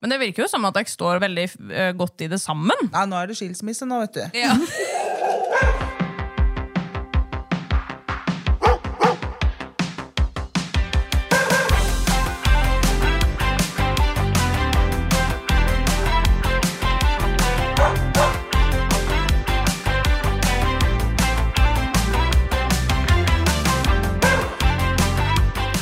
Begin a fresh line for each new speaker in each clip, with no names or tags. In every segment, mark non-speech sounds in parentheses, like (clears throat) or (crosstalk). Men det virker jo som at dere står veldig eh, godt i det sammen.
Nei, nå er det skilsmisse nå, vet du.
Ja.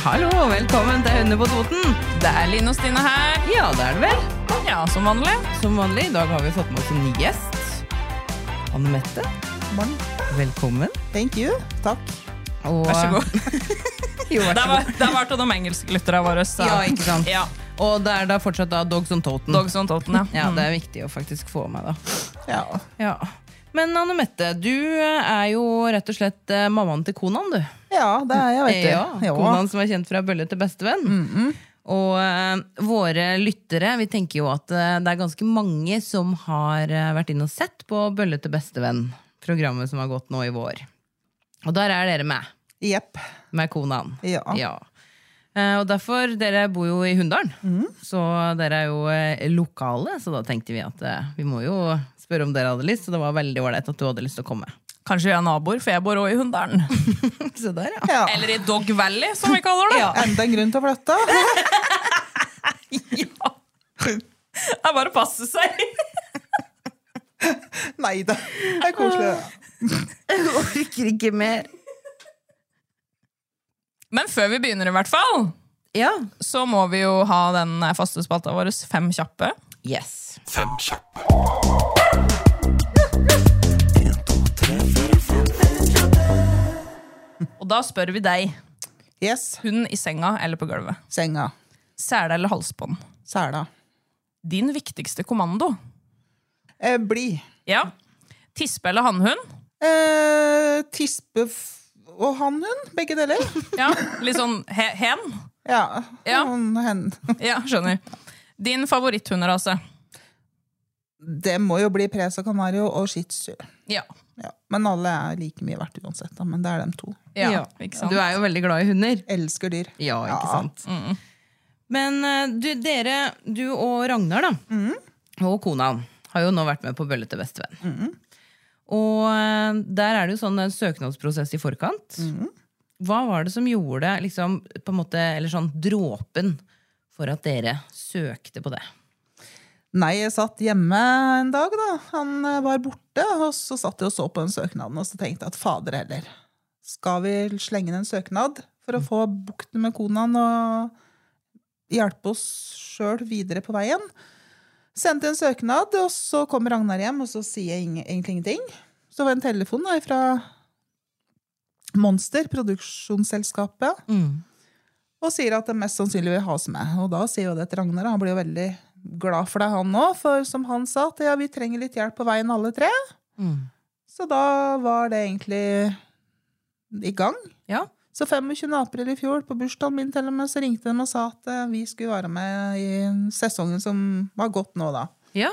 Hallo, og velkommen til Hønne på Toten.
Det er Line og Stine her.
Ja, det er det vel.
Ja, som vanlig.
Som vanlig, i dag har vi fått med oss en ny gjest. Anne Mette,
Morn.
velkommen.
Thank you. Takk.
Og,
Vær så
(laughs)
god.
Jo, vær
Det
så
var,
god.
det var til de engelsklytterne våre. så-
Ja, ikke sant.
Ja.
Og det er da fortsatt da Dogs on Toten.
Dogs Mm. on Totten, ja.
Ja, det er viktig å faktisk få med, da.
Ja.
Ja. Men Anne Mette, du er jo rett og slett eh, mammaen til Konan, du.
ja, det er jeg, vet du.
Ja, Konan som er kjent fra bølle til bestevenn. Og eh, våre lyttere, vi tenker jo at eh, det er ganske mange som har eh, vært inne og sett på Bølle til bestevenn, programmet som har gått nå i vår. Og der er dere med,
Jepp.
med Konan.
Ja.
Eh, Og derfor, dere bor jo i Hunndalen,
Mm-hmm.
så dere er jo eh, lokale, så da tenkte vi at eh, vi må jo spørre om dere hadde lyst, så det var veldig ålreit at du hadde lyst til å komme. (laughs)
Mm. Kanskje vi er naboer, for jeg bor òg i Hunndalen.
Så der, ja.
Ja.
Eller i Dog Valley, som vi kaller det.
Enda en grunn til å flytte.
(laughs)
(laughs)
Ja. Det er bare å passe seg.
Nei da. Det er koselig.
Jeg orker ikke mer.
Men før vi begynner, i hvert fall,
Ja.
så må vi jo ha den faste spalta vår Fem kjappe.
Yes.
Fem kjappe.
Og da spør vi deg.
Yes.
Hund i senga eller på gulvet.
Senga.
Sele eller halsbånd.
Sela.
Din viktigste kommando.
Eh, bli.
Ja. Tispe eller hannhund.
Eh, tispe f- og hannhund. Begge deler. (laughs)
Ja. Litt sånn he hen.
Ja.
Ja.
Hun, hen. (laughs)
Ja, skjønner. Din favoritthunderase.
Det må jo bli Presa Canario og Shih Tzu.
Ja.
Ja. Men alle er like mye verdt uansett, da. Men det er dem to.
Ja, Ikke sant?
Du er jo veldig glad i hunder.
Elsker dyr.
Ja, ikke
Ja.
sant? Men eh, du, dere, du og Ragnar da, og kona han, har jo nå vært med på Bølle til bestevenn. Og eh, der er det jo sånn en søknadsprosess i forkant. Hva var det som gjorde liksom, på en måte, eller sånn dråpen for at dere søkte på det?
Nei, jeg satt hjemme en dag, da. Han eh, var borte, og så satt jeg og så på den søknaden, og så tenkte jeg at fader heller, skal vi slenge inn en søknad for å få bukt med konaen og hjelpe oss sjøl videre på veien? Sendte en søknad, og så kom Ragnar hjem, og så sier jeg ing- egentlig ingenting. Så var det en telefon da, fra Monster, produksjonsselskapet, og sier at det mest sannsynlig vil ha oss med. Og da sier jo det til Ragnar. Han blir jo veldig glad for det, han òg. For som han sa, at ja, vi trenger litt hjelp på veien, alle tre. Så da var det egentlig i gang.
Ja.
Så 25. april i fjor, på bursdagen min til og med, så ringte de og sa at eh, vi skulle være med i sesongen som var gått nå, da.
Ja.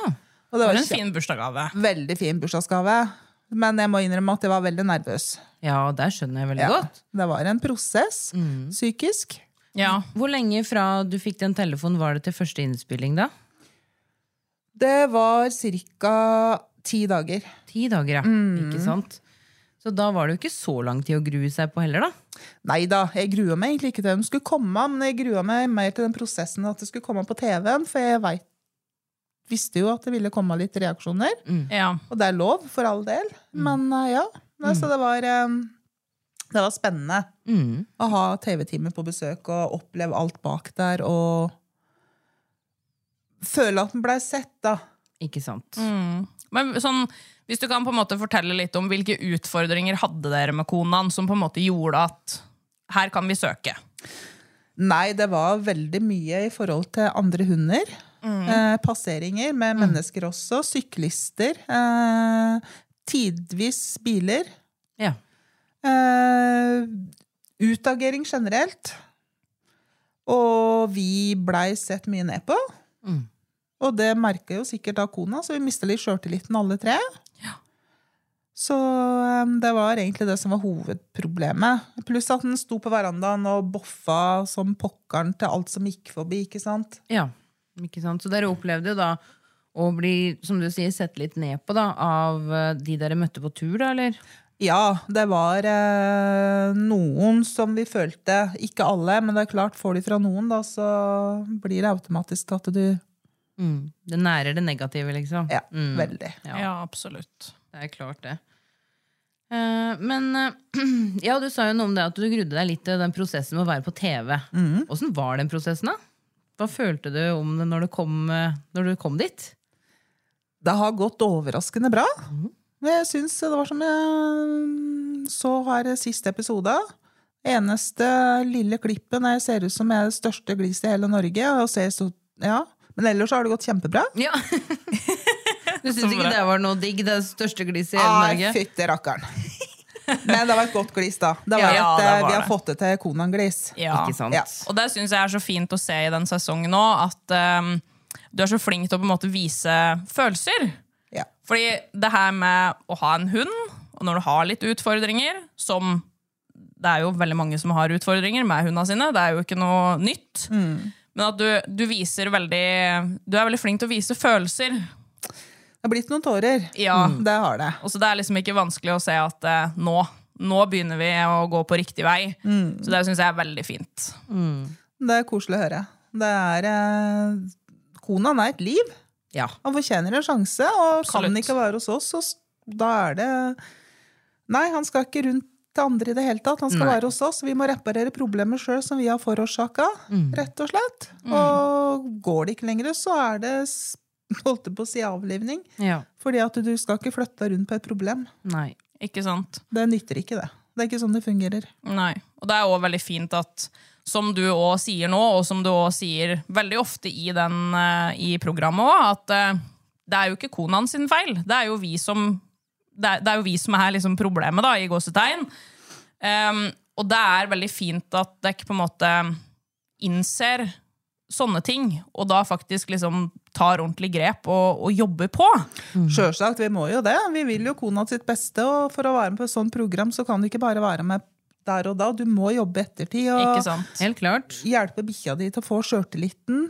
Og det
For
var
en
en
fin bursdagsgave.
veldig fin bursdagsgave. Men jeg må innrømme at jeg var veldig nervøs.
ja, der skjønner jeg veldig
Ja,
godt.
det var en prosess, psykisk.
Ja.
Hvor lenge fra du fikk den telefonen var det til første innspilling da?
Det var ca. ti dager.
Ti dager, ja. Ikke sant? Så da var det jo ikke så lang tid å grue seg på heller, da.
Nei da, jeg grua meg egentlig ikke til de skulle komme, men jeg grua meg mer til den prosessen at det skulle komme på TV-en, for jeg vet, visste jo at det ville komme litt reaksjoner.
ja.
Og det er lov, for all del. Men eh, ja. Nei, Så det var, eh, det var spennende å ha TV-teamet på besøk og oppleve alt bak der og føle at den blei sett, da.
Ikke sant?
Men sånn, hvis du kan på en måte fortelle litt om hvilke utfordringer hadde dere med konaen som på en måte gjorde at her kan vi søke?
Nei, det var veldig mye i forhold til andre hunder. Eh, passeringer med mennesker også. Syklister. Eh, tidvis biler.
Ja.
Eh, utagering generelt. Og vi blei sett mye ned på.
Mm.
Og det merka jo sikkert da kona, så vi mista litt sjøltilliten alle tre. Så eh, det var egentlig det som var hovedproblemet. Pluss at den sto på verandaen og boffa som pokkeren til alt som gikk forbi. ikke sant?
ja. Ikke sant? Så dere opplevde jo da å bli som du sier, sett litt ned på da, av eh, de dere møtte på tur, da, eller?
Ja, det var eh, noen som vi følte Ikke alle, men det er klart, får de fra noen, da, så blir det automatisk at du
Mm. Det nærer det negative, liksom.
Ja,
Mm.
veldig.
Ja.
Ja, absolutt.
Det er klart, det. Eh, men eh, (clears throat) ja, du sa jo noe om det at du grudde deg litt til den prosessen med å være på TV. Åssen var den prosessen, da? Hva følte du om det når du kom, eh, når du kom dit?
Det har gått overraskende bra. Jeg syns det var som jeg så her i siste episode. Eneste lille klippet når jeg ser ut som jeg er det største gliset i hele Norge. Og ser så, ja. Men ellers har det gått kjempebra.
Ja. du syns ikke det var noe digg? Det største gliset i hele
Nei,
Norge?
fytti rakkeren. Men det var et godt glis, da. Det
Ja,
var et,
det
eh,
var
vi har
det.
fått det til Konan-glis.
Ja.
Ikke sant?
Ja.
Og det syns jeg er så fint å se i den sesongen nå, at ehm, du er så flink til å på en måte vise følelser.
Ja.
Fordi det her med å ha en hund, og når du har litt utfordringer, som det er jo veldig mange som har utfordringer med hundene sine, det er jo ikke noe nytt, men at du, du viser veldig Du er veldig flink til å vise følelser.
Det har blitt noen tårer.
Ja.
Mm, Det har det.
Og så det er liksom ikke vanskelig å se at eh, nå, nå begynner vi å gå på riktig vei. Så det syns jeg er veldig fint.
Det er koselig å høre. Det er eh, Konan er et liv.
Ja.
Han fortjener en sjanse, og kan
Absolutt.
han ikke være hos oss, så s- da er det Nei, han skal ikke rundt til andre i det hele tatt. Han skal være hos oss. Vi må reparere problemer sjøl som vi har forårsaka,
Mm.
rett og slett. Og går det ikke lenger, så er det s- (laughs) holdt jeg på å si avlivning.
ja.
Fordi at du skal ikke flytte rundt på et problem.
Nei.
Ikke sant?
Det nytter ikke, det. Det er ikke sånn det fungerer.
Nei. Og det er òg veldig fint at, som du òg sier nå, og som du òg sier veldig ofte i, den, eh, i programmet òg, at eh, det er jo ikke konaen sin feil. Det er jo vi som, det er, det er, jo vi som er liksom problemet, da, i gåsetegn. Em, og det er veldig fint at dere på en måte innser sånne ting, og da faktisk liksom tar ordentlig grep og, og jobber på. Mm.
Sjølsagt, vi må jo det. Vi vil jo kona sitt beste, og for å være med på et sånt program, så kan du ikke bare være med der og da. Du må jobbe ettertid. Og
Ikke sant?
Helt klart.
hjelpe bikkja di til å få sjøltilliten.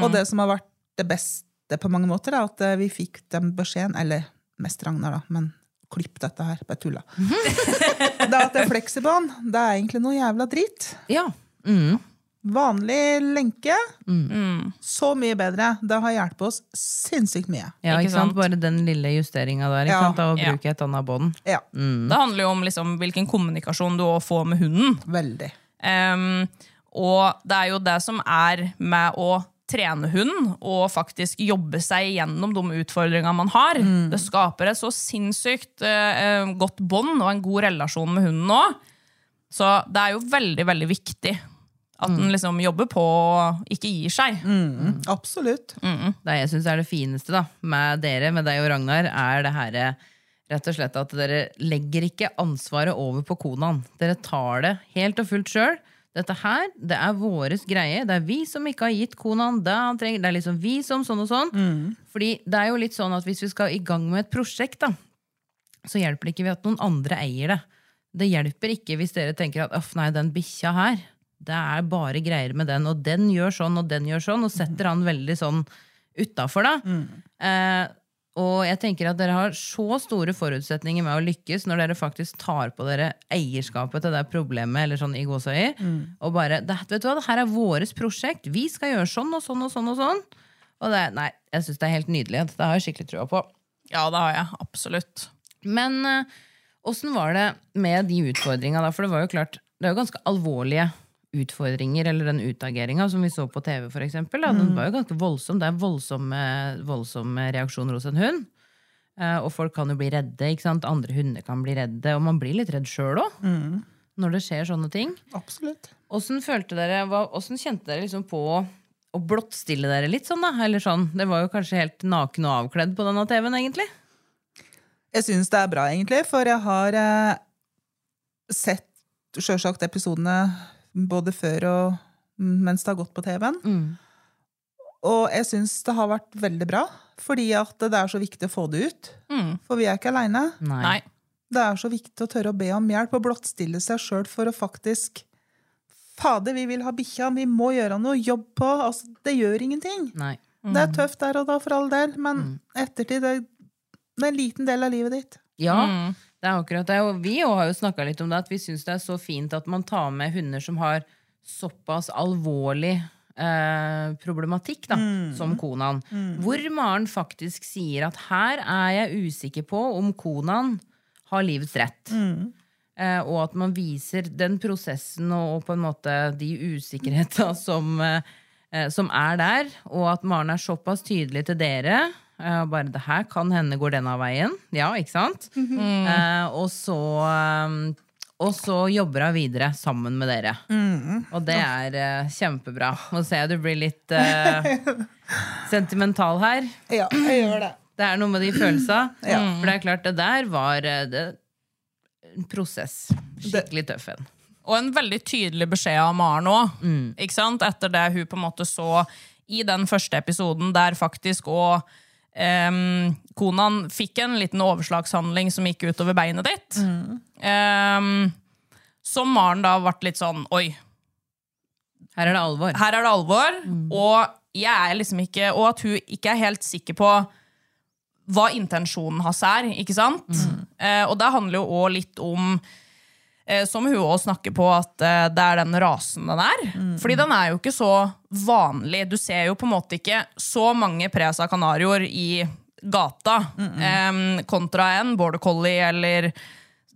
Og det som har vært det beste på mange måter, er at eh, vi fikk den beskjeden Eller mest Ragnar, da, men klipp dette her. Bare (laughs) tulla. det at det er fleksibånd, det er egentlig noe jævla dritt.
Ja. Mm.
Vanlig lenke, så mye bedre. Det har hjulpet oss sinnssykt mye.
ja
Ikke
ikke sant?
sant?
Bare den lille justeringa der, ikke
Ja.
sant? av å
Ja.
bruke et annet bånd.
Ja, Mm.
Det handler jo om liksom hvilken kommunikasjon du også får med hunden.
veldig.
Ehm, og det er jo det som er med å trene hund og faktisk jobbe seg gjennom de utfordringene man har. Det skaper et så sinnssykt eh, eh, godt bånd og en god relasjon med hunden òg. Så det er jo veldig, veldig viktig at den liksom jobber på og ikke gir seg.
Mm, Absolutt.
Det jeg syns er det fineste da, med dere, med deg og Ragnar, er det her rett og slett at dere legger ikke ansvaret over på konaen. Dere tar det helt og fullt sjøl. Dette her, det er våres greie. Det er vi som ikke har gitt konaen det han trenger. Det er liksom vi som sånn og sånn. Fordi det er jo litt sånn at hvis vi skal i gang med et prosjekt, da, så hjelper det ikke ved at noen andre eier det. Det hjelper ikke hvis dere tenker at «Uff, nei, den bikkja her, det er bare greier med den, og den gjør sånn, og den gjør sånn, og setter han veldig sånn utafor, da. Eh, og jeg tenker at dere har så store forutsetninger med å lykkes når dere faktisk tar på dere eierskapet til det problemet, eller sånn i gåseøyer, og bare det, 'Vet du hva, det her er våres prosjekt. Vi skal gjøre sånn og sånn og sånn og sånn.' Og det, nei, jeg syns det er helt nydelig. Det har jeg skikkelig trua på.
Ja, det har jeg. Absolutt.
Men eh, åssen var det med de utfordringa, da? For det var jo klart, det er jo ganske alvorlige utfordringer, eller den utageringa som vi så på TV, for eksempel. Da. Den var jo ganske voldsom. Det er voldsomme, voldsomme reaksjoner hos en hund. Eh, Og folk kan jo bli redde, ikke sant. Andre hunder kan bli redde, og man blir litt redd sjøl òg. når det skjer sånne ting.
Absolutt.
Åssen følte dere, hva, hvordan kjente dere liksom på å blottstille dere litt sånn, da? Eller sånn, det var jo kanskje helt naken og avkledd på denne TV-en, egentlig.
Jeg syns det er bra, egentlig, for jeg har eh, sett sjølsagt episodene både før og mens det har gått på TV-en. Og jeg syns det har vært veldig bra, fordi at det er så viktig å få det ut. For vi er ikke aleine.
Nei.
Det er så viktig å tørre å be om hjelp og blottstille seg sjøl for å faktisk Fader, vi vil ha bikkja, vi må gjøre noe jobb på altså, Det gjør ingenting.
Nei.
Det er tøft der og da, for all del, men ettertid det, det er en liten del av livet ditt.
Ja, Mm. det er akkurat det. Og vi jo har jo snakka litt om det, at vi syns det er så fint at man tar med hunder som har såpass alvorlig eh, problematikk, da, som Konan. Hvor Maren faktisk sier at her er jeg usikker på om Konan har livets rett. Eh, og at man viser den prosessen og, og på en måte de usikkerheta (laughs) som, eh, eh, som er der. Og at Maren er såpass tydelig til dere. Eh, bare 'det her kan hende går denne veien'. Ja, ikke sant? eh, og så eh, og så jobber hun videre sammen med dere. Og det er eh, kjempebra. Nå ser jeg du blir litt eh, sentimental her.
Ja, jeg gjør det.
Det er noe med de følelsa. For det er klart, det der var eh, det, en prosess. Skikkelig tøff en.
Og en veldig tydelig beskjed av Maren òg. Ikke sant? Etter det hun på en måte så i den første episoden, der faktisk òg um, Konan fikk en liten overslagshandling som gikk utover beinet ditt. Em, som Maren da ble litt sånn Oi,
Her er det alvor.
her er det alvor. Og jeg er liksom ikke Og at hun ikke er helt sikker på hva intensjonen hans er. ikke sant? Eh, og det handler jo òg litt om eh, som hun òg snakker på, at eh, det er den rasen den er.
Mm.
Fordi den er jo ikke så vanlig. Du ser jo på en måte ikke så mange presa canarioer i gata eh, kontra en border collie eller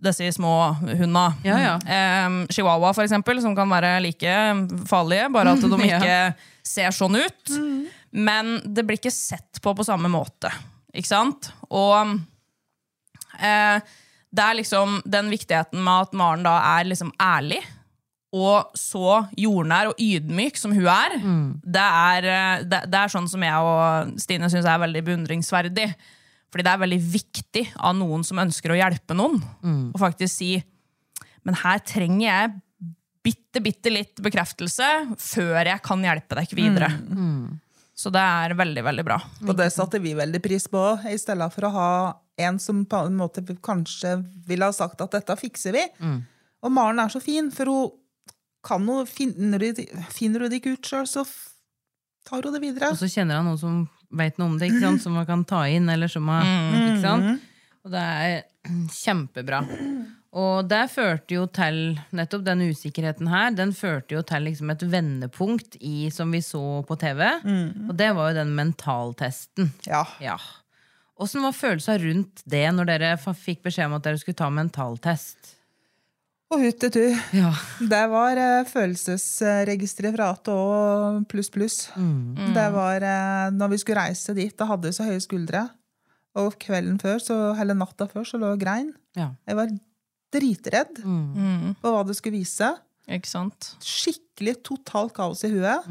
disse små hunda.
Ja, ja.
Eh, Chihuahua, for eksempel, som kan være like farlige, bare at de
Mm, Ja. Mm.
ikke ser sånn ut. Men det blir ikke sett på på samme måte. Ikke sant? Og eh, det er liksom den viktigheten med at Maren da er liksom ærlig, og så jordnær og ydmyk som hun er, det, er eh, det, det er sånn som jeg og Stine syns er veldig beundringsverdig. Fordi det er veldig viktig av noen som ønsker å hjelpe noen, å faktisk si men her trenger jeg bitte, bitte litt bekreftelse før jeg kan hjelpe deg videre. Så det er veldig, veldig bra.
Og det satte vi veldig pris på, i stedet for å ha en som på en måte kanskje ville ha sagt at dette fikser vi.
Mm.
Og Maren er så fin, for hun kan noe, finner hun det- finner hun det ikke ut sjøl, så f- tar hun det videre.
Og så kjenner han noen som veit noe om det, ikke sant? som man kan ta inn. Eller som man, ikke sant? Og det er (clears throat) kjempebra. Og det førte jo til nettopp den usikkerheten her. Den førte jo til liksom et vendepunkt i, som vi så på TV. Og det var jo den mentaltesten.
Ja.
Ja. Åssen var følelsen rundt det når dere fa- fikk beskjed om at dere skulle ta mentaltest?
Og huttetu.
Ja.
Det var eh, følelsesregisteret fra ATÅ og pluss, pluss.
Mm.
Det var eh, når vi skulle reise dit, da hadde vi så høye skuldre. Og kvelden før, så, eller natta før, så lå jeg og grein.
Ja. Mm.
Jeg var dritredd på hva det skulle vise.
Ikke sant?
Skikkelig totalt kaos i huet.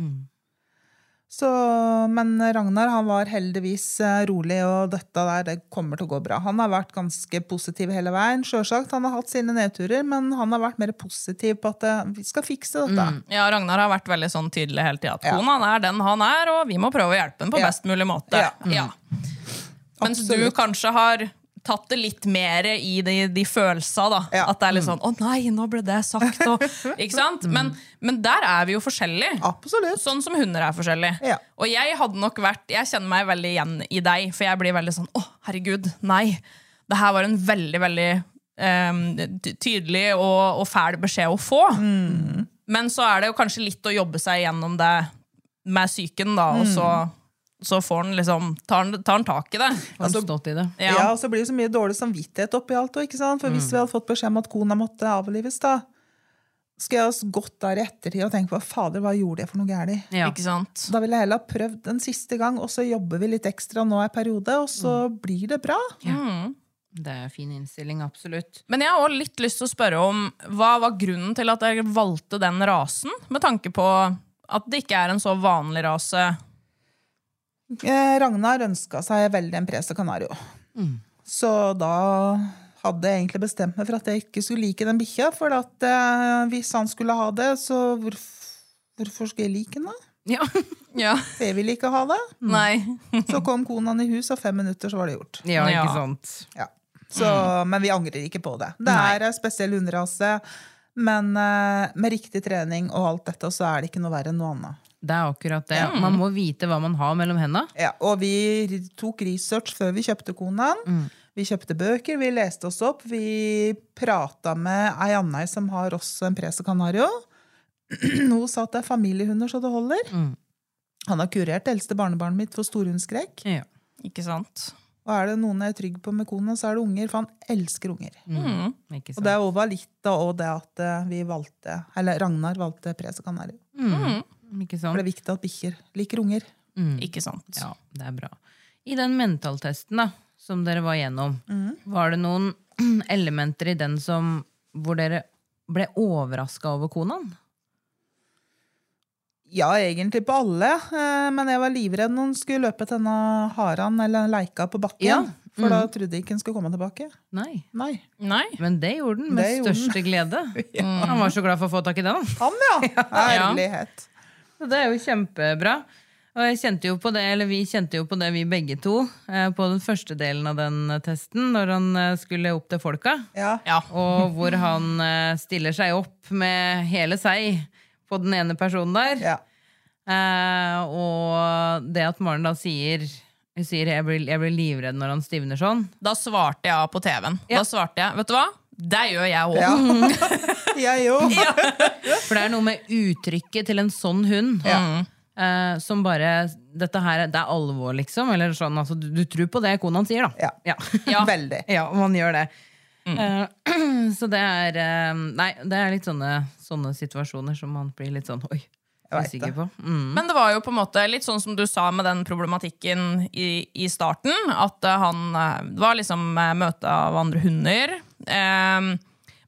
Så, men Ragnar han var heldigvis eh, rolig, og dette der det kommer til å gå bra. Han har vært ganske positiv hele veien. Selvsagt, Han har hatt sine nedturer, men han har vært mer positiv på at eh, vi skal fikse dette.
Ja, Ragnar har vært veldig sånn tydelig hele tida. At
Ja.
kona er den han er, og vi må prøve å hjelpe ham på
Ja.
best mulig måte.
Ja.
Ja. Mens du
Absolutt.
kanskje har tatt det litt mer i de, de følelsa, da.
Ja. Mm.
At det er litt sånn 'Å nei, nå ble det sagt',
(laughs)
og Ikke sant? Men, men der er vi jo forskjellige.
Absolutt.
Sånn som hunder er forskjellige.
Ja.
Og jeg hadde nok vært Jeg kjenner meg veldig igjen i deg, for jeg blir veldig sånn Å, herregud, nei. Det her var en veldig, veldig em, ty- tydelig og, og fæl beskjed å få.
Mm.
Men så er det jo kanskje litt å jobbe seg gjennom det med psyken, da, og så,
Mm.
så får den liksom Tar den, tar den tak i det.
Har du stått i det?
Ja.
Ja. og så blir det så mye dårlig samvittighet oppi alt. og Ikke sant? For hvis vi hadde fått beskjed om at kona måtte avlives, da skulle jeg ha gått der i ettertid og tenkt på fader, hva gjorde jeg for noe galt?
Ja.
Ikke sant?
Da ville jeg heller ha prøvd en siste gang, og så jobber vi litt ekstra nå en periode, og så blir det bra.
Det er fin innstilling, absolutt.
Men jeg har også litt lyst til å spørre om hva var grunnen til at jeg valgte den rasen, med tanke på at det ikke er en så vanlig rase.
Eh, Ragnar ønska seg veldig en Presa Canario. Så da hadde jeg egentlig bestemt meg for at jeg ikke skulle like den bikkja. For at eh, hvis han skulle ha det, så hvorf hvorfor skal jeg like den, da?
(laughs) Ja.
Ja,
Jeg vil ikke ha det.
nei.
Så kom konaen i hus, og fem minutter så var det gjort.
ja,
Ja.
ikke sant.
Ja. Mm. Så, Men vi angrer ikke på det. Det er en spesiell hunderase. Men eh, med riktig trening og alt dette, så er det ikke noe verre enn noe annet.
Det er akkurat det. Man må vite hva man har mellom hendene.
Ja, og vi r- tok research før vi kjøpte konaen. Vi kjøpte bøker, vi leste oss opp. Vi prata med ei anna som har også en Presa Canario. (clears throat) Hun sa at det er familiehunder så det holder. Han har kurert det eldste barnebarnet mitt for storhundskrekk.
Ja.
Ikke sant?
Og er det noen jeg er trygg på med kona, så er det unger, for han elsker unger.
Ikke
Og
sant.
det er over litt av og det at eh, vi valgte, eller Ragnar valgte Presa Canario.
Ikke
For
sant?
det er viktig at bikkjer liker unger.
Ikke sant?
Ja, det er bra. I den mentaltesten da, som dere var gjennom, var det noen (clears throat) elementer i den som, hvor dere ble overraska over konaen?
Ja, egentlig på alle, eh, men jeg var livredd når han skulle løpe til denne haren eller leika på bakken.
Ja,
For da trodde jeg ikke han skulle komme tilbake.
Nei.
Mm. Nei.
Nei?
Men det gjorde den med
Det gjorde den.
største glede. (laughs) Han var så glad for å få tak i den.
Han, (laughs) ja! Ærlighet.
Så det er jo kjempebra. Og jeg kjente jo på det, eller Vi kjente jo på det, vi begge to, eh, på den første delen av den testen, når han eh, skulle opp til folka.
Ja.
Ja.
(laughs)
Og hvor han eh, stiller seg opp med hele seg på den ene personen der.
ja.
Eh, og det at Maren da sier Hun sier jeg blir, jeg blir livredd når han stivner sånn.
Da svarte jeg på TV-en. Da svarte jeg, vet du hva? Det gjør jeg òg.
(laughs) ja. Jeg (laughs) jo.
For det er noe med uttrykket til en sånn hund eh, som bare Dette her, det er alvor, liksom. Eller sånn, altså, du, du tror på det kona sier, da.
Ja.
ja. (laughs)
Veldig.
Ja, man gjør det. Eh, (clears throat) så det er eh, Nei, det er litt sånne, sånne situasjoner som man blir litt sånn oi,
vet
usikker på. Mm.
Men det var jo på en måte litt sånn som du sa med den problematikken i, i starten. At eh, han eh, Det var liksom eh, møte av andre hunder. Ehm,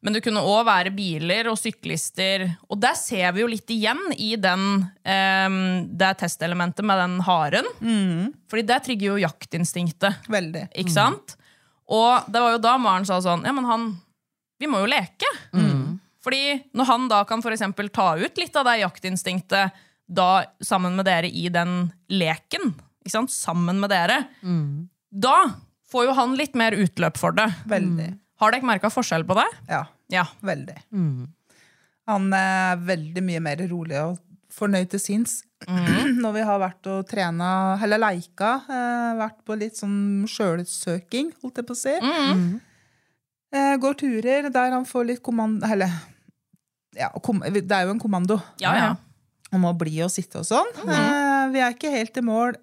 men det kunne òg være biler og syklister. Og der ser vi jo litt igjen i den, ehm, det testelementet med den haren. Fordi det trigger jo jaktinstinktet.
Veldig.
Ikke sant? Og det var jo da Maren sa sånn Ja, men han Vi må jo leke. Fordi når han da kan for eksempel ta ut litt av det jaktinstinktet da sammen med dere i den leken, ikke sant? sammen med dere, da får jo han litt mer utløp for det.
Veldig.
Har dere merka forskjell på det?
Ja.
Ja.
Veldig. Han er veldig mye mer rolig og fornøyd til sinns. (clears throat) Når vi har vært og trena, eller leika, eh, vært på litt sånn sjølsøking, holdt jeg på å si. Eh, går turer der han får litt kommando Eller ja, kom, det er jo en kommando
Ja, ja.
om å bli og sitte og sånn. Eh, vi er ikke helt i mål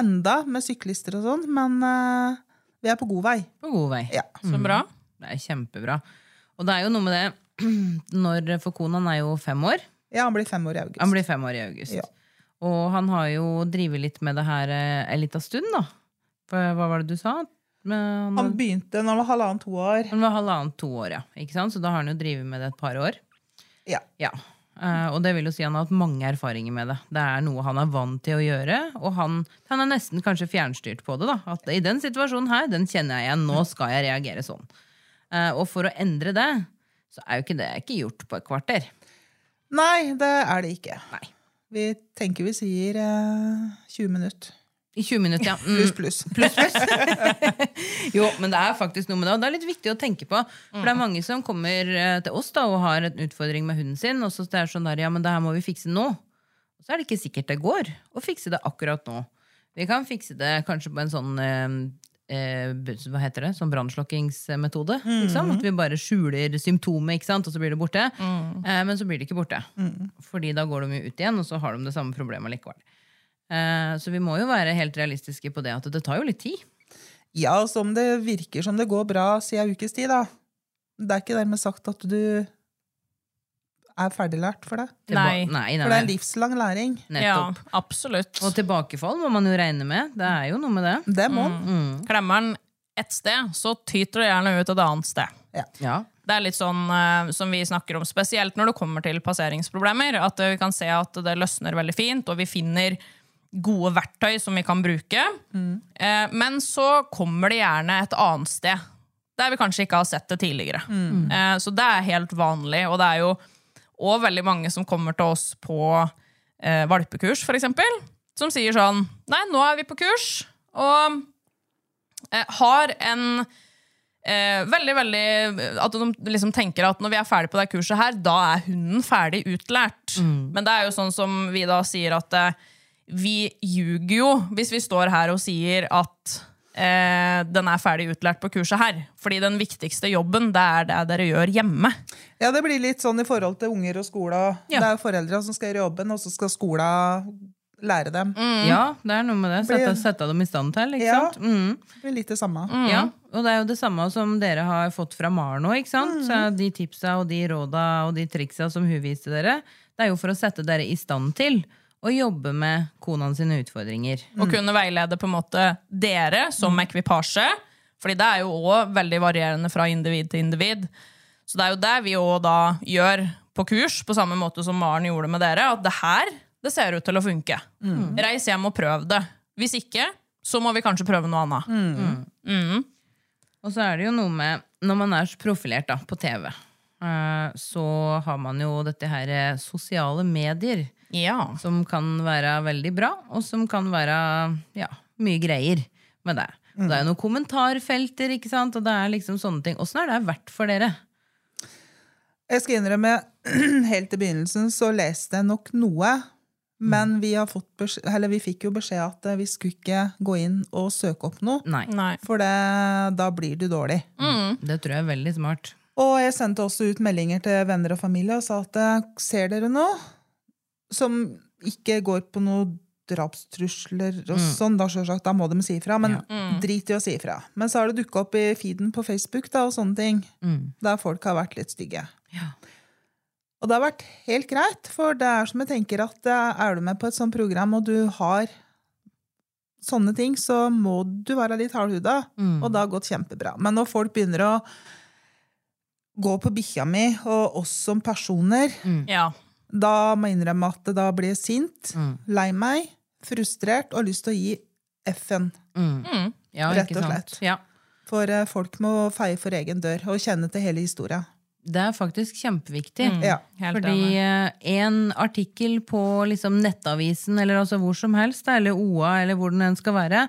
enda med syklister og sånn, men eh, vi er på god vei.
På god vei.
Ja.
Så bra.
Det er kjempebra. Og det er jo noe med det (clears throat) når For konaen er jo fem år.
ja, han blir fem år i august.
Han blir fem år i august.
Ja.
Og han har jo drevet litt med det her eh, en liten stund, da. For, hva var det du sa? Men
Han
han,
begynte når han var halvannet to år.
han var halvannet to år, ja. Ikke sant? Så da har han jo drevet med det et par år.
Ja.
Ja. Eh, og det vil jo si han har hatt mange erfaringer med det. Det er noe han er vant til å gjøre. Og han, han er nesten kanskje fjernstyrt på det. da At i den situasjonen her, den kjenner jeg igjen. Nå skal jeg reagere sånn. Eh, og for å endre det, så er jo ikke det ikke gjort på et kvarter.
Nei, det er det ikke.
Nei.
Vi tenker vi sier eh, 20 minutter.
I 20 minutter, ja. Mm.
Pluss,
(laughs)
pluss.
Jo, men det er faktisk noe med det, og det er litt viktig å tenke på. For det
Mm.
er mange som kommer eh, til oss da, og har en utfordring med hunden sin, og så det er sånn der, ja, men det her må vi fikse nå. Og så er det ikke sikkert det går å fikse det akkurat nå. Vi kan fikse det kanskje på en sånn eh, eh, bu- hva heter det, sånn brannslokkingsmetode.
Mm.
Liksom. At vi bare skjuler symptomet, ikke sant? og så blir det borte.
Mm.
Eh, men så blir det ikke borte. Fordi da går de jo ut igjen, og så har de det samme problemet likevel. Eh, så vi må jo være helt realistiske på det at det tar jo litt tid.
(laughs) Ja, og som det virker som det går bra siden ukes tid, da. Det er ikke dermed sagt at du er ferdiglært for det.
Nei.
Tilba- nei, nei,
For det er
nei. Mm.
livslang læring.
Ja,
Nettopp.
absolutt.
Og tilbakefall må man jo regne med. Det er jo noe med det.
Det må man.
Klemmeren ett sted, så tyter det gjerne ut et annet sted.
Ja.
Det er litt sånn eh, som vi snakker om, spesielt når det kommer til passeringsproblemer. At eh, vi kan se at det løsner veldig fint, og vi finner gode verktøy som vi kan bruke. Eh, men så kommer det gjerne et annet sted, der vi kanskje ikke har sett det tidligere. Eh, så det er helt vanlig, og det er jo òg veldig mange som kommer til oss på eh, valpekurs, f.eks., som sier sånn Nei, nå er vi på kurs, og eh, har en eh, veldig, veldig At de liksom tenker at når vi er ferdig på det kurset her, da er hunden ferdig utlært. Men det er jo sånn som vi da sier at eh, vi ljuger jo hvis vi står her og sier at eh, den er ferdig utlært på kurset her. Fordi den viktigste jobben, det er det dere gjør hjemme.
Ja, det blir litt sånn i forhold til unger og skole.
Ja.
Det er jo foreldra som skal gjøre jobben, og så skal skola lære dem.
ja, det er noe med det. Sette,
Blir-
sette dem i stand til, Mm, ikke
Ja.
sant? Mm.
Det blir litt det samme.
Ja, og det er jo det samme som dere har fått fra Mar nå, ikke sant?
Mm.
Så de tipsa og de råda og de triksa som hun viste dere, det er jo for å sette dere i stand til å jobbe med konaen sine utfordringer.
Og kunne veilede på en måte dere som ekvipasje. Fordi det er jo òg veldig varierende fra individ til individ. Så det er jo det vi òg da gjør på kurs, på samme måte som Maren gjorde med dere. At det her det ser ut til å funke. Reis hjem og prøv det. Hvis ikke, så må vi kanskje prøve noe annet.
Og så er det jo noe med, når man er så profilert da, på TV, eh, så har man jo dette her eh, sosiale medier,
Ja.
som kan være veldig bra, og som kan være ja, mye greier med det. Og Det er jo noen kommentarfelter, ikke sant? og det er liksom sånne ting. Åssen er det verdt for dere?
Jeg skal innrømme, (clears throat) helt i begynnelsen så leste jeg nok noe. Men vi, har fått beskjed, eller vi fikk jo beskjed at eh, vi skulle ikke gå inn og søke opp noe.
Nei.
Nei.
For det, da blir du dårlig.
Det tror jeg er veldig smart.
Og jeg sendte også ut meldinger til venner og familie og sa at eh, ser dere noe som ikke går på noe drapstrusler og sånn, da selvsagt, da må de si ifra. Men drit i å si ifra. Men så har det dukka opp i feeden på Facebook da, og sånne ting, der folk har vært litt stygge. Og det har vært helt greit, for det er som jeg tenker at eh, er du med på et sånt program, og du har sånne ting, så må du være litt hardhuda,
Mm.
og det har gått kjempebra. Men når folk begynner å gå på bikkja mi, og oss som personer,
Mm.
Ja.
da må jeg innrømme at da blir jeg sint,
Mm.
lei meg, frustrert og lyst til å gi F-en.
Ja,
Rett
ikke
og
sant?
slett.
Ja.
For eh, folk må feie for egen dør og kjenne til hele historia.
Det er faktisk kjempeviktig.
Mm. Ja.
Helt
Fordi
enig.
eh, en artikkel på liksom nettavisen eller altså hvor som helst, eller OA, eller hvor den enn skal være,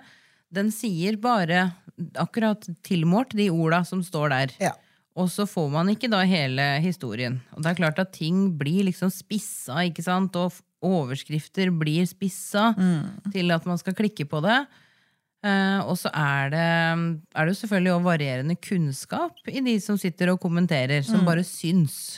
den sier bare akkurat tilmålt de orda som står der.
Ja.
Og så får man ikke da hele historien. Og det er klart at ting blir liksom spissa, ikke sant? og f- overskrifter blir spissa til at man skal klikke på det. Eh, og så er det, er det jo selvfølgelig også varierende kunnskap i de som sitter og kommenterer, som bare syns.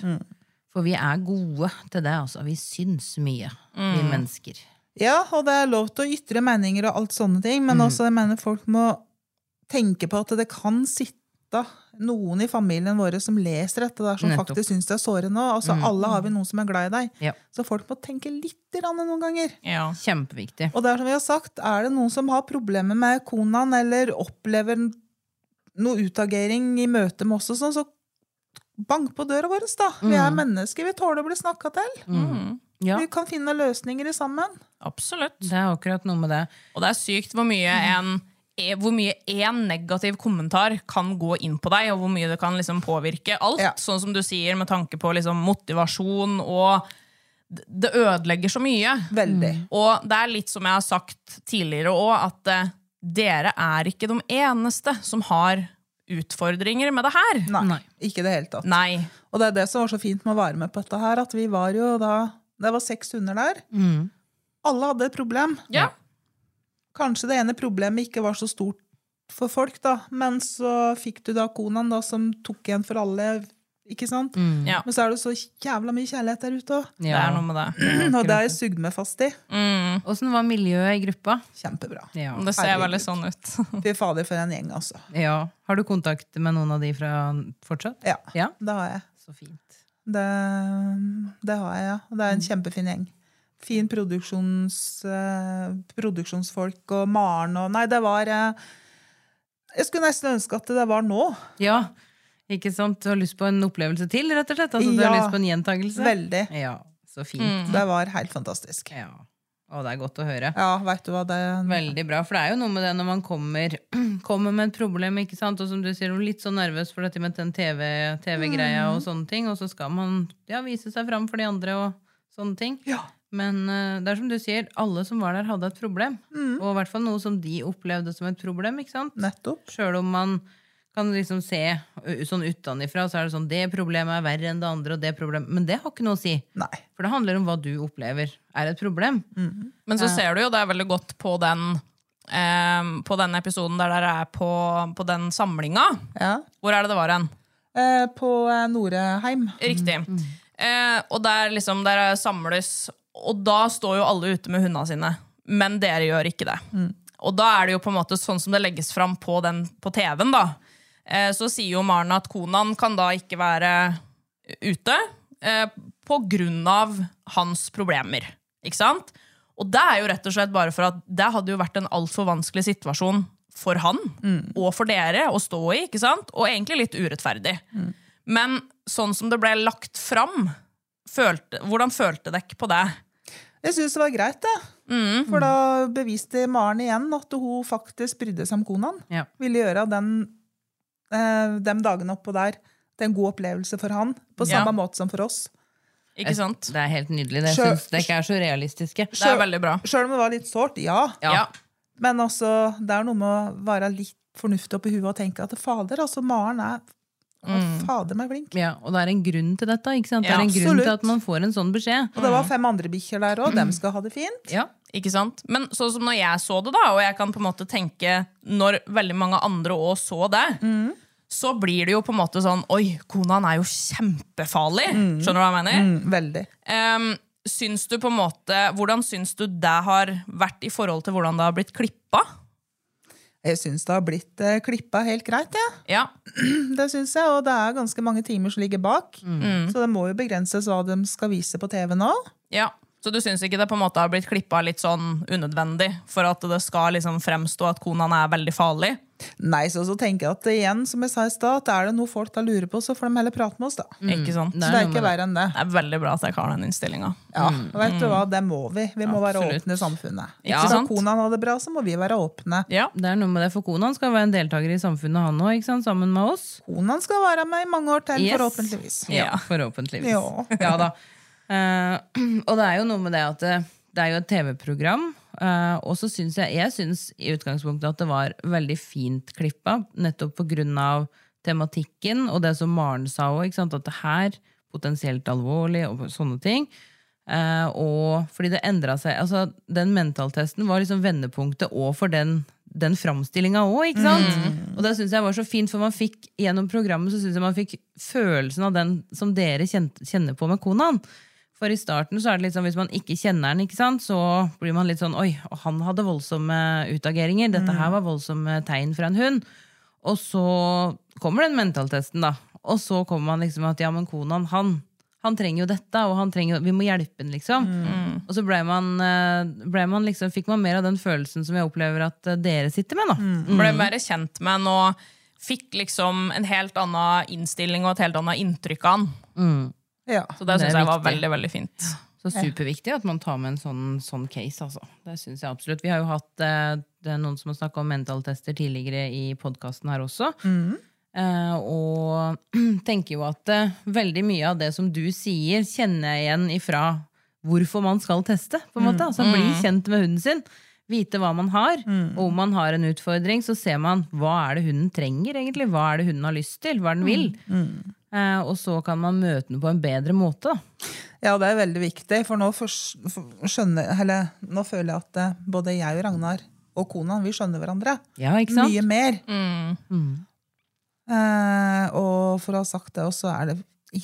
For vi er gode til det, altså. Vi syns mye, vi mennesker.
Ja, og det er lov til å ytre meninger og alt sånne ting,
Mm.
men også jeg mener folk må tenke på at det kan sitte noen i familien våre som leser dette der, som
Nettopp. Mm.
faktisk syns det er sårende. Altså, Alle har vi noen som er glad i deg.
Ja.
Så folk må tenke litt grann noen ganger.
Ja.
Kjempeviktig.
Og det er som vi har sagt, er det noen som har problemer med konaen, eller opplever noe utagering i møte med oss og sånn, så bank på døra vår, da. Vi er mennesker, vi tåler å bli snakka til.
Mm. Ja,
Vi kan finne løsninger i sammen.
Absolutt.
det er akkurat noe med det.
Og det er sykt hvor mye en eh, hvor mye én negativ kommentar kan gå inn på deg, og hvor mye det kan liksom påvirke alt.
Ja.
Sånn som du sier, med tanke på liksom motivasjon og d- Det ødelegger så mye.
Veldig.
Mm.
Og det er litt som jeg har sagt tidligere òg, at eh, dere er ikke de eneste som har utfordringer med det her.
Nei, ikke i det hele tatt.
Nei.
Og det er det som var så fint med å være med på dette her, at vi var jo da Det var seks hunder der. Alle hadde et problem.
Ja.
Kanskje det ene problemet ikke var så stort for folk, da, men så fikk du da konaen da som tok igjen for alle, ikke sant?
Ja.
Men så er det så jævla mye kjærlighet der ute òg.
Det er noe med det.
(clears throat) Og det har jeg sugd meg fast i.
Åssen var miljøet i gruppa?
Kjempebra.
Mm. Ja.
Det ser
Herregud.
veldig sånn ut.
Fy fader, for en gjeng, altså.
ja. Har du kontakt med noen av de fra fortsatt?
Ja,
Ja.
det har jeg.
Så fint.
Det, det har jeg, ja. Og det
Mm.
er en kjempefin gjeng. Fin produksjons, eh, produksjonsfolk og Maren og Nei, det var eh, Jeg skulle nesten ønske at det var nå.
Ja, ikke sant? Du har lyst på en opplevelse til, rett og slett? Altså, du har
Ja.
lyst på en gjentakelse?
Veldig.
Ja, så fint.
Det var helt fantastisk.
Mm. Ja. Å, det er godt å høre.
Ja, veit du hva det
Veldig bra, for det er jo noe med det når man kommer, (clears throat) kommer med et problem, ikke sant? og som du sier, du er litt så nervøs for dette med den TV TV-greia og sånne ting, og så skal man ja, vise seg fram for de andre og sånne ting.
Ja.
Men eh, det er som du sier, alle som var der, hadde et problem. Og i hvert fall noe som de opplevde som et problem. ikke sant?
Nettopp.
Sjøl om man kan liksom se ø, sånn utenifra, så er det sånn det problemet er verre enn det andre, og det problemet Men det har ikke noe å si.
Nei.
For det handler om hva du opplever er et problem.
Men så ser du jo det er veldig godt på den, eh, på den episoden der dere er på, på den samlinga.
Ja.
Hvor er det det var hen?
Eh, på eh, Noreheim.
Riktig. Eh, og der liksom dere samles, og da står jo alle ute med hundene sine. Men dere gjør ikke det. Og da er det jo på en måte sånn som det legges fram på, den- på TV-en, da. Eh, så sier jo Maren at Konan kan da ikke være ute eh, på grunn av hans problemer. Ikke sant? Og det er jo rett og slett bare for at det hadde jo vært en altfor vanskelig situasjon for han og for dere å stå i, ikke sant? Og egentlig litt urettferdig. Men sånn som det ble lagt fram, følte, hvordan følte dere på det?
Jeg syns det var greit, det. For da beviste Maren igjen at hun faktisk brydde seg om kona.
Ja.
Ville gjøre den, eh, de dagene oppå der til en god opplevelse for han. På
Ja.
samme måte som for oss.
Ikke sant?
Det er helt nydelig. Det
Sjøl-
syns det ikke er så realistiske.
Det er veldig bra.
Sjøl om det var litt sårt, ja.
Ja.
Men altså, det er noe med å være litt fornuftig oppi huet og tenke at fader, altså Maren er mm. fader meg flink.
Ja, og det er en grunn til dette. ikke sant? Det
Ja,
er en grunn
absolutt.
til at man får en sånn beskjed.
Og det var fem andre bikkjer der òg, dem skal ha det fint.
Ja,
Ikke sant? Men sånn som når jeg så det, da, og jeg kan på en måte tenke når veldig mange andre òg så det, så blir det jo på en måte sånn Oi, konaen er jo kjempefarlig! Skjønner du hva jeg mener?
Mm, veldig.
Ehm, syns du på en måte, Hvordan syns du det har vært i forhold til hvordan det har blitt klippa?
Jeg syns det har blitt eh, klippa helt greit, jeg.
Ja.
Det syns jeg, og det er ganske mange timer som ligger bak. Så det må jo begrenses hva de skal vise på TV nå.
Ja, Så du syns ikke det på en måte har blitt klippa litt sånn unødvendig for at det skal liksom fremstå at konaen er veldig farlig?
Nei, så, så tenker jeg at det igjen, som jeg sa i stad, at er det noe folk da lurer på, så får de heller prate med oss, da.
Ikke sant? Mm. Det Mm.
Så det er ikke verre enn det.
er veldig bra at jeg har den innstillinga.
Ja, og vet du hva, det må vi. Vi må være åpne i samfunnet.
Ikke
Skal
sant?
kona ha det bra, så må vi være åpne.
Ja.
det er noe med det, for Konan skal være en deltaker i samfunnet, han òg, sammen med oss.
Kona skal være med i mange år til,
Yes.
forhåpentligvis.
Ja, forhåpentligvis.
Ja.
(laughs) Ja da. Eh, og det er jo noe med det at det, det er jo et TV-program. eh, og så syns jeg, jeg synes i utgangspunktet at det var veldig fint klippa, nettopp pga. tematikken og det som Maren sa òg, at det her potensielt alvorlig og sånne ting. Eh, og fordi det endra seg altså Den mentaltesten var liksom vendepunktet òg for den, den framstillinga òg. ikke sant? Og det syns jeg var så fint, for man fikk gjennom programmet så synes jeg man fikk følelsen av den som dere kjent, kjenner på med konaen. For i starten så er det litt sånn, hvis man ikke kjenner den, ikke sant, så blir man litt sånn Oi, han hadde voldsomme utageringer. Dette her var voldsomme tegn fra en hund. Og så kommer den mentaltesten, da. Og så kommer man liksom at ja, men konaen, han, han trenger jo dette, og han trenger, jo- vi må hjelpe han, liksom. Og så ble man, eh, ble man liksom, fikk man mer av den følelsen som jeg opplever at eh, dere sitter med, da.
Ble mer kjent med han og fikk liksom en helt annen innstilling og et helt annet inntrykk av han.
Ja.
Så det,
Det er
synes jeg var
viktig.
veldig, veldig fint.
Så superviktig at man tar med en sånn, sånn case, altså. Det synes jeg absolutt. Vi har jo hatt eh, det er noen som har snakka om mentaltester tidligere i podkasten her også. Eh, og (clears throat) tenker jo at eh, veldig mye av det som du sier, kjenner jeg igjen ifra hvorfor man skal teste. på en måte. Altså Bli kjent med hunden sin, vite hva man har. Og om man har en utfordring, så ser man hva er det hunden trenger. egentlig? Hva er det hunden har lyst til? Hva er det den vil? Eh, og så kan man møte den på en bedre måte. da.
Ja, det er veldig viktig, for nå, fors- for- skjønner, eller, nå føler jeg at eh, både jeg og Ragnar og kona vi skjønner hverandre
Ja, ikke sant? Mm.
mye mer. Eh, og for å ha sagt det også, så er det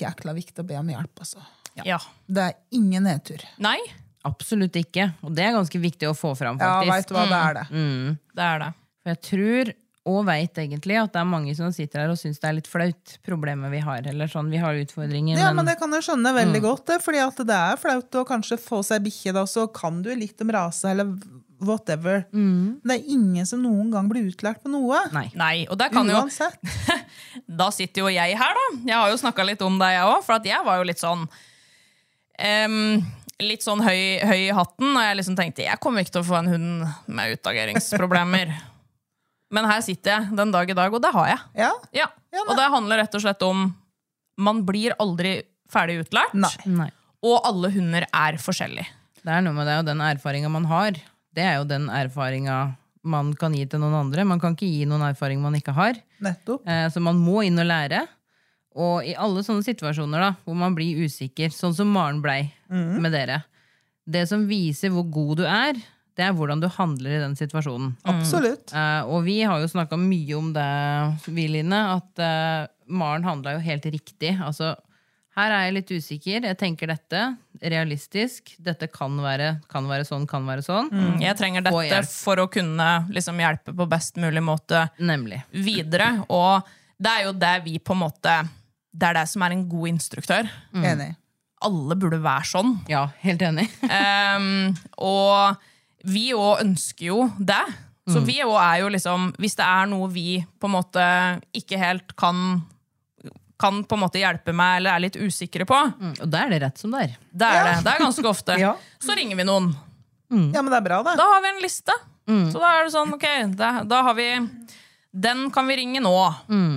jækla viktig å be om hjelp. Altså.
Ja.
Det er ingen nedtur.
Nei,
Absolutt ikke. Og det er ganske viktig å få fram,
Ja, veit
faktisk.
du hva det er, det.
det er det.
For jeg tror, og veit egentlig, at det er mange som sitter her og syns det er litt flaut, problemet vi har. Eller sånn, vi har utfordringer,
Ja, men
men,
det kan jeg skjønne eh, veldig godt, det, fordi at det er flaut å kanskje få seg bikkje, da, så kan du litt om rase eller whatever. Det er ingen som noen gang blir utlært på noe.
Nei.
Nei, og der
Mm.
kan jo
Uansett.
da sitter jo jeg her, da. Jeg har jo snakka litt om deg, jeg òg. For at jeg var jo litt sånn em, Litt sånn høy, høy i hatten. Og jeg liksom tenkte jeg kommer ikke til å få en hund med utageringsproblemer.
(laughs)
Men her sitter jeg den dag i dag, og det har jeg.
Ja.
Ja.
Ja,
Og det handler rett og slett om man blir aldri ferdig utlært.
Nei.
Nei.
Og alle hunder er forskjellige.
Det er noe med det, og den erfaringa man har, det er jo den erfaringa man kan gi til noen andre. Man kan ikke gi noen erfaring man ikke har.
Nettopp.
Eh, Så man må inn og lære. Og i alle sånne situasjoner da, hvor man blir usikker, sånn som Maren blei
Mhm.
med dere Det som viser hvor god du er, det er hvordan du handler i den situasjonen.
Absolutt.
Eh, og vi har jo snakka mye om det, vi, Line, at eh, Maren handla jo helt riktig. Altså, her er jeg litt usikker. Jeg tenker dette. Realistisk. Dette kan være, kan være sånn, kan være sånn.
Mm.
Jeg trenger
Få
dette
hjelp.
for å kunne liksom, hjelpe på best mulig måte
Nemlig.
videre. Og det er jo det vi på en måte Det er det som er en god instruktør.
Mm.
Enig.
Alle burde være sånn.
Ja, helt enig.
Ehm, og vi òg ønsker jo det. Så vi òg er jo liksom Hvis det er noe vi på en måte ikke helt kan kan på en måte hjelpe meg, eller er litt usikre på.
Mm, (laughs) og da er det rett som det er.
Det er det. Det er ganske ofte.
Ja.
Så ringer vi noen.
Ja, men det er bra, det.
Da har vi en liste. Så da er det sånn, ok, da, da har vi Den kan vi ringe nå,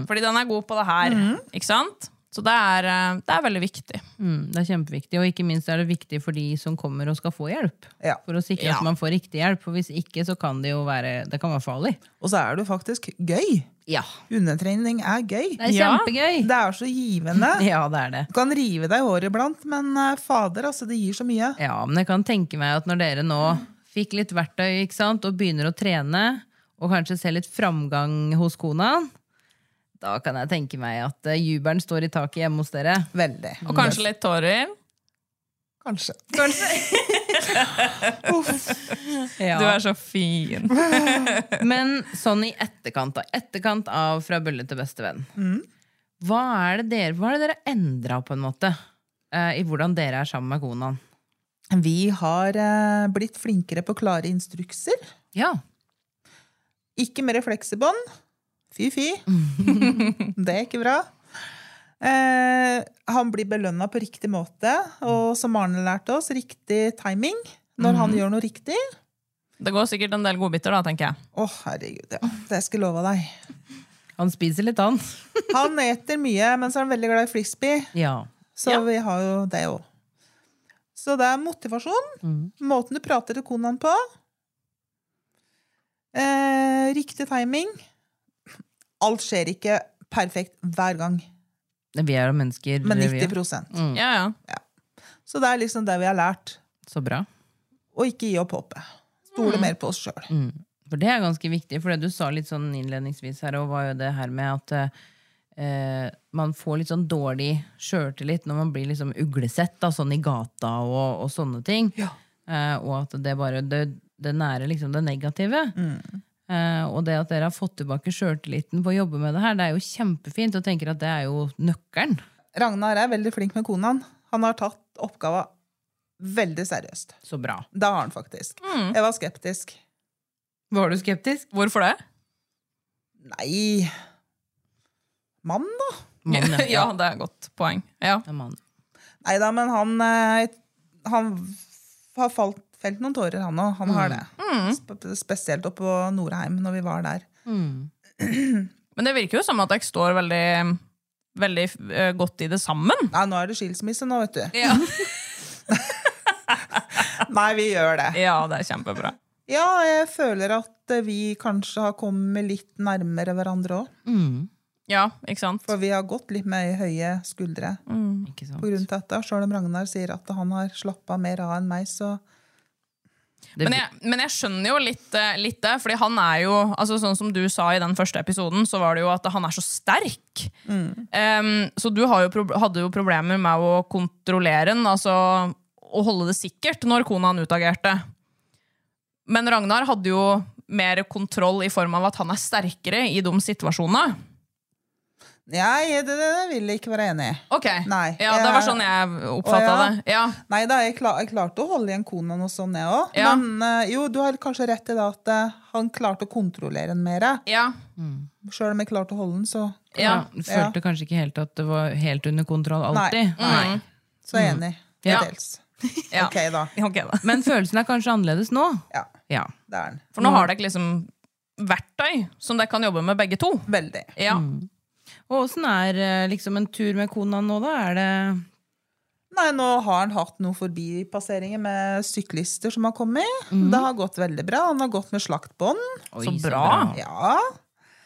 fordi den er god på det her. Ikke sant? Så det er, eh, det er veldig viktig.
Mm, det er kjempeviktig. Og ikke minst er det viktig for de som kommer og skal få hjelp.
Ja.
For å sikre
Ja.
at man får riktig hjelp. For hvis ikke, så kan det jo være, det kan være farlig.
Og så er det jo faktisk gøy.
Ja.
Hundetrening er gøy.
Det er
Ja.
kjempegøy!
Det er så givende.
(laughs) Ja, det er det.
Du kan rive deg i håret iblant, men eh, fader, altså, det gir så mye.
Ja, men jeg kan tenke meg at når dere nå fikk litt verktøy ikke sant, og begynner å trene, og kanskje ser litt framgang hos kona, da kan jeg tenke meg at eh, jubelen står i taket hjemme hos dere.
Veldig.
Og kanskje litt tårer.
Kanskje.
(laughs)
Du er så fin.
Men sånn i etterkant, da. Etterkant av Fra bølle til bestevenn. Hva er det dere Hva er det dere endra, på en måte, eh, i hvordan dere er sammen med kona?
Vi har eh, blitt flinkere på klare instrukser.
Ja.
Ikke mer fleksibånd. Fy,
(laughs)
fy. Det er ikke bra. Eh, han blir belønna på riktig måte, og som Arne lærte oss, riktig timing når
Mm.
han gjør noe riktig.
Det går sikkert en del godbiter, da, tenker jeg.
Å, herregud, ja. Det skal jeg love deg.
Han spiser litt, han.
Han eter mye, men så er han veldig glad i frisbee.
Ja.
Så vi har jo det òg. Så det er motivasjon.
Mm.
Måten du prater til konaen på. Eh, riktig timing. Alt skjer ikke perfekt hver gang,
Vi er jo mennesker.
men
vi Mm. er-
90
Ja, ja.
Så det er liksom det vi har lært.
Så bra.
Å ikke gi opp håpet.
Mm.
Stole mer på oss sjøl.
For det er ganske viktig, for det du sa litt sånn innledningsvis her, og var jo det her med at eh, man får litt sånn dårlig sjøltillit når man blir liksom uglesett da, sånn i gata og, og sånne ting. Eh, og at det bare det, det nære liksom det negative. Eh, og det at dere har fått tilbake sjøltilliten på å jobbe med det her, det er jo kjempefint, og tenker at det er jo nøkkelen.
Ragnar er veldig flink med konaen. Han har tatt oppgava veldig seriøst.
Så bra.
Det har han faktisk.
Mm.
Jeg var skeptisk.
Var du skeptisk?
Hvorfor det?
Nei Mann, da?
Mann, ja.
(laughs) Ja, det er et godt poeng. Ja.
Ja, mann.
Nei da, men han, eh, han f- har falt, felt noen tårer, han òg. Han har det. Sp- Spesielt oppe på Norheim, når vi var der.
Men det virker jo som at dere står veldig, veldig eh, godt i det sammen.
Nei, nå er det skilsmisse nå, vet du.
Ja.
(laughs) Nei, vi gjør det.
ja, det er kjempebra.
Ja, jeg føler at eh, vi kanskje har kommet litt nærmere hverandre òg.
Mm.
Ja, ikke sant?
For vi har gått litt med høye skuldre
Ikke sant?
på grunn til dette. Sjøl om Ragnar sier at han har slappa mer av enn meg, så
Det,
Men jeg, men jeg skjønner jo litt, eh, litt det, fordi han er jo altså Sånn som du sa i den første episoden, så var det jo at han er så sterk. Em, så du har jo, prob- hadde jo problemer med å kontrollere den, altså å holde det sikkert når kona han utagerte. Men Ragnar hadde jo mer kontroll i form av at han er sterkere i de situasjonene.
Nei, det, det vil jeg ikke være enig i.
Ok.
Nei,
ja, det var
jeg-
sånn jeg oppfatta
Å, ja.
det. Ja.
Nei da, jeg, kla- jeg klarte å holde igjen kona noe sånn, jeg òg.
Ja.
Men eh, jo, du har kanskje rett i det at eh, han klarte å kontrollere den mer.
Ja.
Sjøl om jeg klarte å holde den, så,
ja.
Følte kanskje ikke helt at det var helt under kontroll alltid. Nei.
så er jeg enig.
Ja.
Dels.
(laughs) Ja.
Ok, da.
Ok, da.
Men følelsen er kanskje annerledes nå.
Ja,
Ja.
det er den.
For nå har dere liksom verktøy som dere kan jobbe med, begge to.
Veldig.
Ja.
Og åssen er eh, liksom en tur med kona nå, da? Er det
Nei, nå har han hatt noen forbipasseringer med syklister som har kommet. Det har gått veldig bra. Han har gått med slaktbånd.
Oi,
Så bra.
Ja.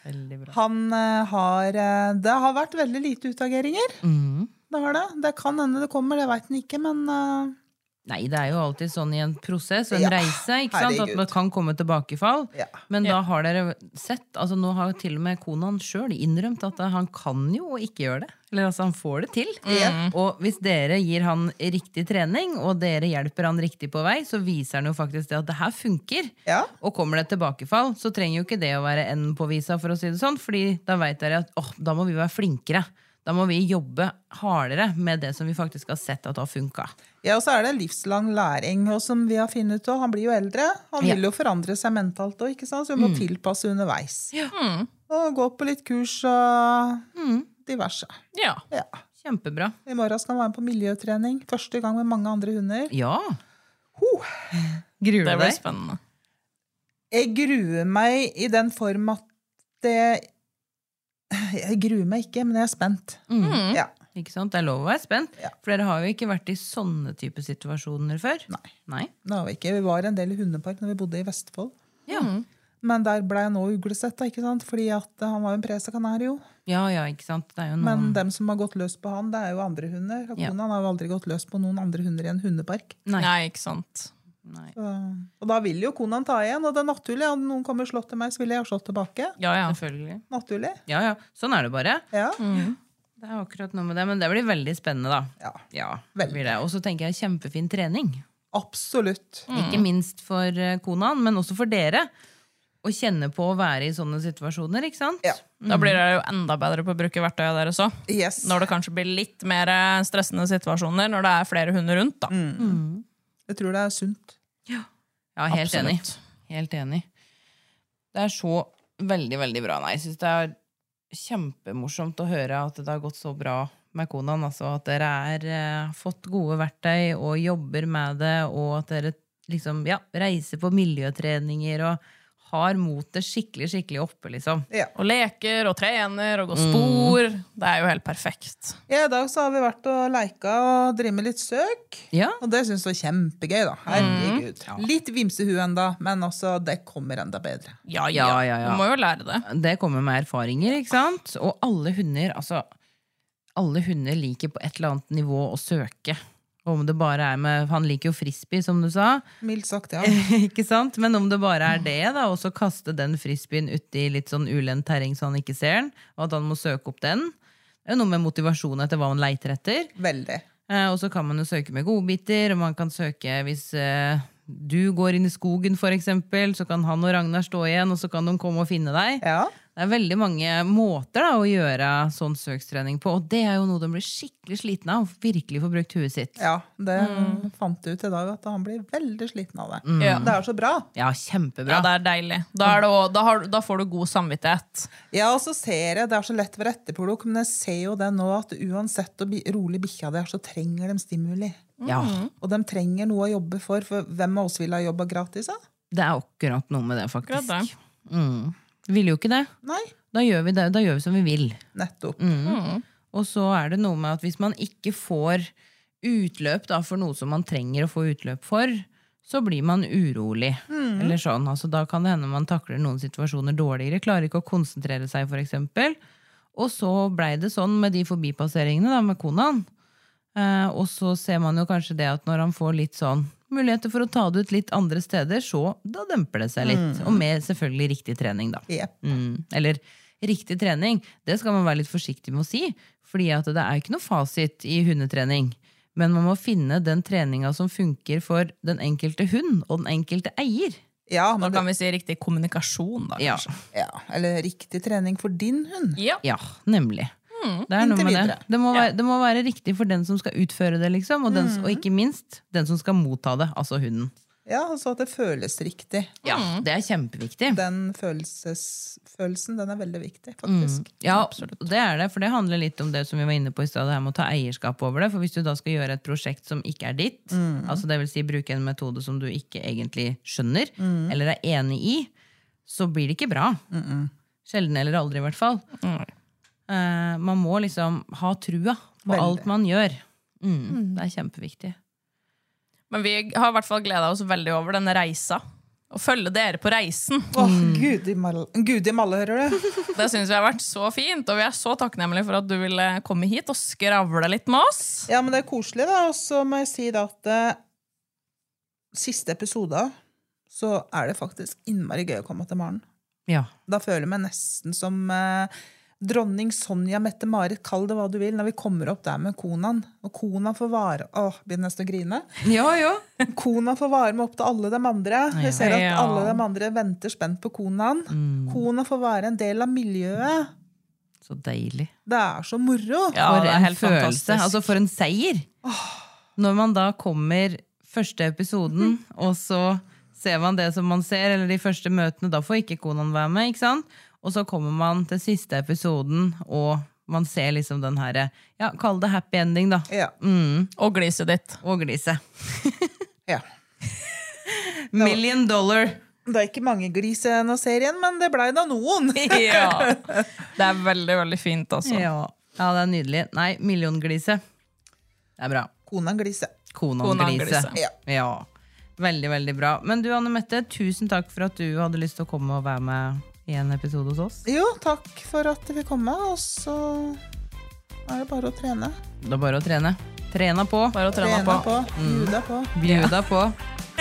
Veldig bra.
Han eh, har eh, Det har vært veldig lite utageringer.
Mm.
Det har det. Det kan hende det kommer, det veit han ikke, men eh,
Nei, det er jo alltid sånn i en prosess og en
Ja.
reise ikke sant? at
Herregud.
det kan komme tilbakefall.
Ja.
Men da har dere sett altså Nå har jo til og med konaen sjøl innrømt at han kan jo ikke gjøre det. Eller altså, han får det til.
Mm.
Og hvis dere gir han riktig trening, og dere hjelper han riktig på vei, så viser han jo faktisk det at det her funker.
Ja.
Og kommer det et tilbakefall, så trenger jo ikke det å være enden på visa, for å si det sånn. Fordi da veit dere at åh, da må vi være flinkere. Da må vi jobbe hardere med det som vi faktisk har sett at har funka.
Ja, og så er det livslang læring. Og som vi har funnet ut av, han blir jo eldre. Han
Ja.
vil jo forandre seg mentalt òg, ikke sant? Så vi må tilpasse underveis.
Mm.
Og gå på litt kurs og diverse.
ja.
Ja.
Kjempebra.
I morgen skal han være med på miljøtrening. Første gang med mange andre hunder.
Ja.
Huh.
Gruer
Det
du
blir
deg?
spennende.
Jeg gruer meg i den form at det Jeg gruer meg ikke, men jeg er spent. Ja.
Ikke sant? Det er lov å være spent.
Ja.
For dere har jo ikke vært i sånne type situasjoner før.
Nei.
Nei.
Det har vi ikke. Vi var en del i hundepark når vi bodde i Vestfold.
Ja.
Men der ble jeg nå uglesett, da, ikke sant? fordi at eh, han var jo en presa canario.
ja, ja, ikke sant. Det er jo noen...
Men dem som har gått løs på han, det er jo andre hunder. Og
Mm. Ja.
Konan har jo aldri gått løs på noen andre hunder i en hundepark.
Nei.
Nei, ikke sant.
Nei.
Så, og da vil jo konan ta igjen, og det er naturlig. Hadde noen kommet og slått til meg, så ville jeg ha slått tilbake.
Ja, ja.
Selvfølgelig.
Naturlig.
Ja, ja. Sånn er det bare.
Ja.
Det er akkurat noe med det, men det blir veldig spennende, da.
ja.
Ja, det
Veldig.
blir det. Og så tenker jeg kjempefin trening.
Absolutt.
Ikke minst for eh, konaen, men også for dere. Å kjenne på å være i sånne situasjoner, ikke sant?
Ja.
Da
Mm.
blir dere jo enda bedre på å bruke verktøyet deres òg.
Yes.
Når det kanskje blir litt mer eh, stressende situasjoner når det er flere hunder rundt. da.
Mm.
Jeg tror det er sunt.
Ja, helt enig. Helt enig. Det er så veldig, veldig bra. Nei, jeg syns det er kjempemorsomt å høre at det har gått så bra med konaen. Altså at dere har eh, fått gode verktøy og jobber med det, og at dere liksom, ja, reiser på miljøtreninger og har motet skikkelig, skikkelig oppe, liksom.
Ja.
Og leker og trener og går
Mm.
spor. Det er jo helt perfekt.
Ja, I dag så har vi vært og leika og drevet med litt søk.
Ja.
Og det syns jeg var kjempegøy. da. Herregud. Litt vimsehue enda, men også det kommer enda bedre.
Ja, ja,
Ja, ja, ja.
Du må jo lære det.
Det kommer med erfaringer, ikke sant? Og alle hunder, altså Alle hunder liker på et eller annet nivå å søke. Om det bare er med Han liker jo frisbee, som du sa.
Mildt sagt, ja.
(laughs) ikke sant? Men om det bare er det, da, og så kaste den frisbeen uti litt sånn ulendt terreng så han ikke ser den, og at han må søke opp den. Det er jo noe med motivasjon etter hva han leiter etter.
Veldig.
Eh, Og så kan man jo søke med godbiter, og man kan søke hvis eh, du går inn i skogen, for eksempel, så kan han og Ragnar stå igjen, og så kan de komme og finne deg.
Ja.
Det er veldig mange måter da, å gjøre sånn søkstrening på, og det er jo noe de blir skikkelig slitne av. og Virkelig får brukt huet sitt.
Ja, det fant jeg ut i dag, at han blir veldig sliten av det.
Ja.
Det er så bra.
Ja,
Ja,
kjempebra.
det er deilig. Da, er det også, da, har, da får du god samvittighet.
Ja, og så ser jeg, Det er så lett å være etterpåklok, men jeg ser jo det nå at uansett hvor bi- rolig bikkja det er, så trenger de stimuli.
Ja,
Mm.
Og de trenger noe å jobbe for, for hvem av oss ville ha jobba gratis? da?
det er akkurat noe med det,
Akkurat
faktisk.
det.
Mm. Vil jo ikke det.
Nei,
Da gjør vi det. Da gjør vi som vi vil.
nettopp.
Mm.
Og så er det noe med at hvis man ikke får utløp da, for noe som man trenger å få utløp for, så blir man urolig. Eller sånn. altså, da kan det hende man takler noen situasjoner dårligere. Klarer ikke å konsentrere seg, f.eks. Og så blei det sånn med de forbipasseringene da, med konaen. Eh, og så ser man jo kanskje det at når han får litt sånn muligheter for å ta det ut litt andre steder, så da demper det seg litt. Og med selvfølgelig riktig trening, da.
Mm. Jep.
Mm. Eller riktig trening, det skal man være litt forsiktig med å si. Fordi at det er ikke noe fasit i hundetrening. Men man må finne den treninga som funker for den enkelte hund og den enkelte eier.
Ja, men
Da
det,
kan vi si riktig kommunikasjon, da,
Ja,
kanskje.
ja, eller riktig trening for din hund.
Ja.
ja nemlig. Det er noe
Mm, Inntil
med det.
videre.
Det må, være, det må være riktig for den som skal utføre det, liksom.
Mm.
Og, den, og ikke minst den som skal motta det, altså hunden.
Ja, og så at det føles riktig.
Ja, Mm. Det er kjempeviktig.
Den følelses, følelsen, den er veldig
Mm.
viktig, faktisk.
Ja, det er det, for det handler litt om det som vi var inne på i stedet, det her med å ta eierskap over det. For hvis du da skal gjøre et prosjekt som ikke er ditt, altså det vil si bruke en metode som du ikke egentlig skjønner, eller er enig i, så blir det ikke bra. Sjelden eller aldri, i hvert fall. Eh, man må liksom ha trua på
Veldig.
alt man gjør. Mm, det er kjempeviktig.
Men vi har i hvert fall gleda oss veldig over denne reisa. Å følge dere på reisen.
Åh,
Mm.
gud i mal- gud i malle,
(laughs)
hører du?
Det syns vi har vært så fint, og vi er så takknemlige for at du ville komme hit og skravle litt med oss.
Ja, men det er koselig, da. Og så må jeg si da at eh, siste episode så er det faktisk innmari gøy å komme til Maren.
Ja.
Da føler jeg meg nesten som eh, dronning Sonja Mette-Marit, kall det hva du vil, når vi kommer opp der med konaen. Og konaen får vare Åh, begynner nesten å grine.
(laughs) ja, ja.
Konaen får vare med opp til alle de andre. Jeg ser at
Ja. Mm.
alle de andre venter spent på konaen. Konaen får være en del av miljøet.
Så deilig.
Det er så moro.
Ja,
for
det er
en
helt
følelse.
fantastisk.
Altså, for en seier! Når man da kommer første episoden,
Mhm.
og så ser man det som man ser, eller de første møtene, da får ikke konaen være med, ikke sant? Og så kommer man til siste episoden, og man ser liksom den herre Ja, kall det happy ending, da.
Ja.
Mm. Og gliset (laughs) ditt.
Og gliset.
ja.
Million dollar!
Det er ikke mange glis i denne serien, men det blei da noen.
(laughs) Ja. Det er veldig, veldig fint, altså.
Ja. ja, det er nydelig. Nei, milliongliset. Det er bra.
Konaen glise.
Konan
Konan Glise.
Glise.
Ja.
Ja. Veldig, veldig bra. Men du, Anne Mette, tusen takk for at du hadde lyst til å komme og være med i en episode hos oss.
Jo, takk for at vi kom med, og så er det bare å trene.
Det er bare å trene. Trena på.
Bare å trene
Trene
på. Mm.
på, juda på.
Bjuda på.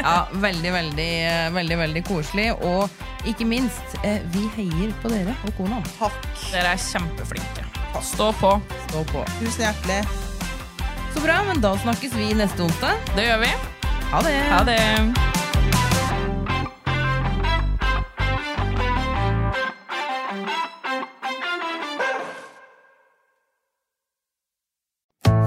Ja, veldig, veldig, eh, veldig, veldig koselig. Og ikke minst, eh, vi heier på dere og konaen.
Dere er kjempeflinke. Stå på.
Stå på.
Tusen hjertelig.
Så bra, men da snakkes vi neste onsdag.
Det gjør vi.
Ha det!
Ha det.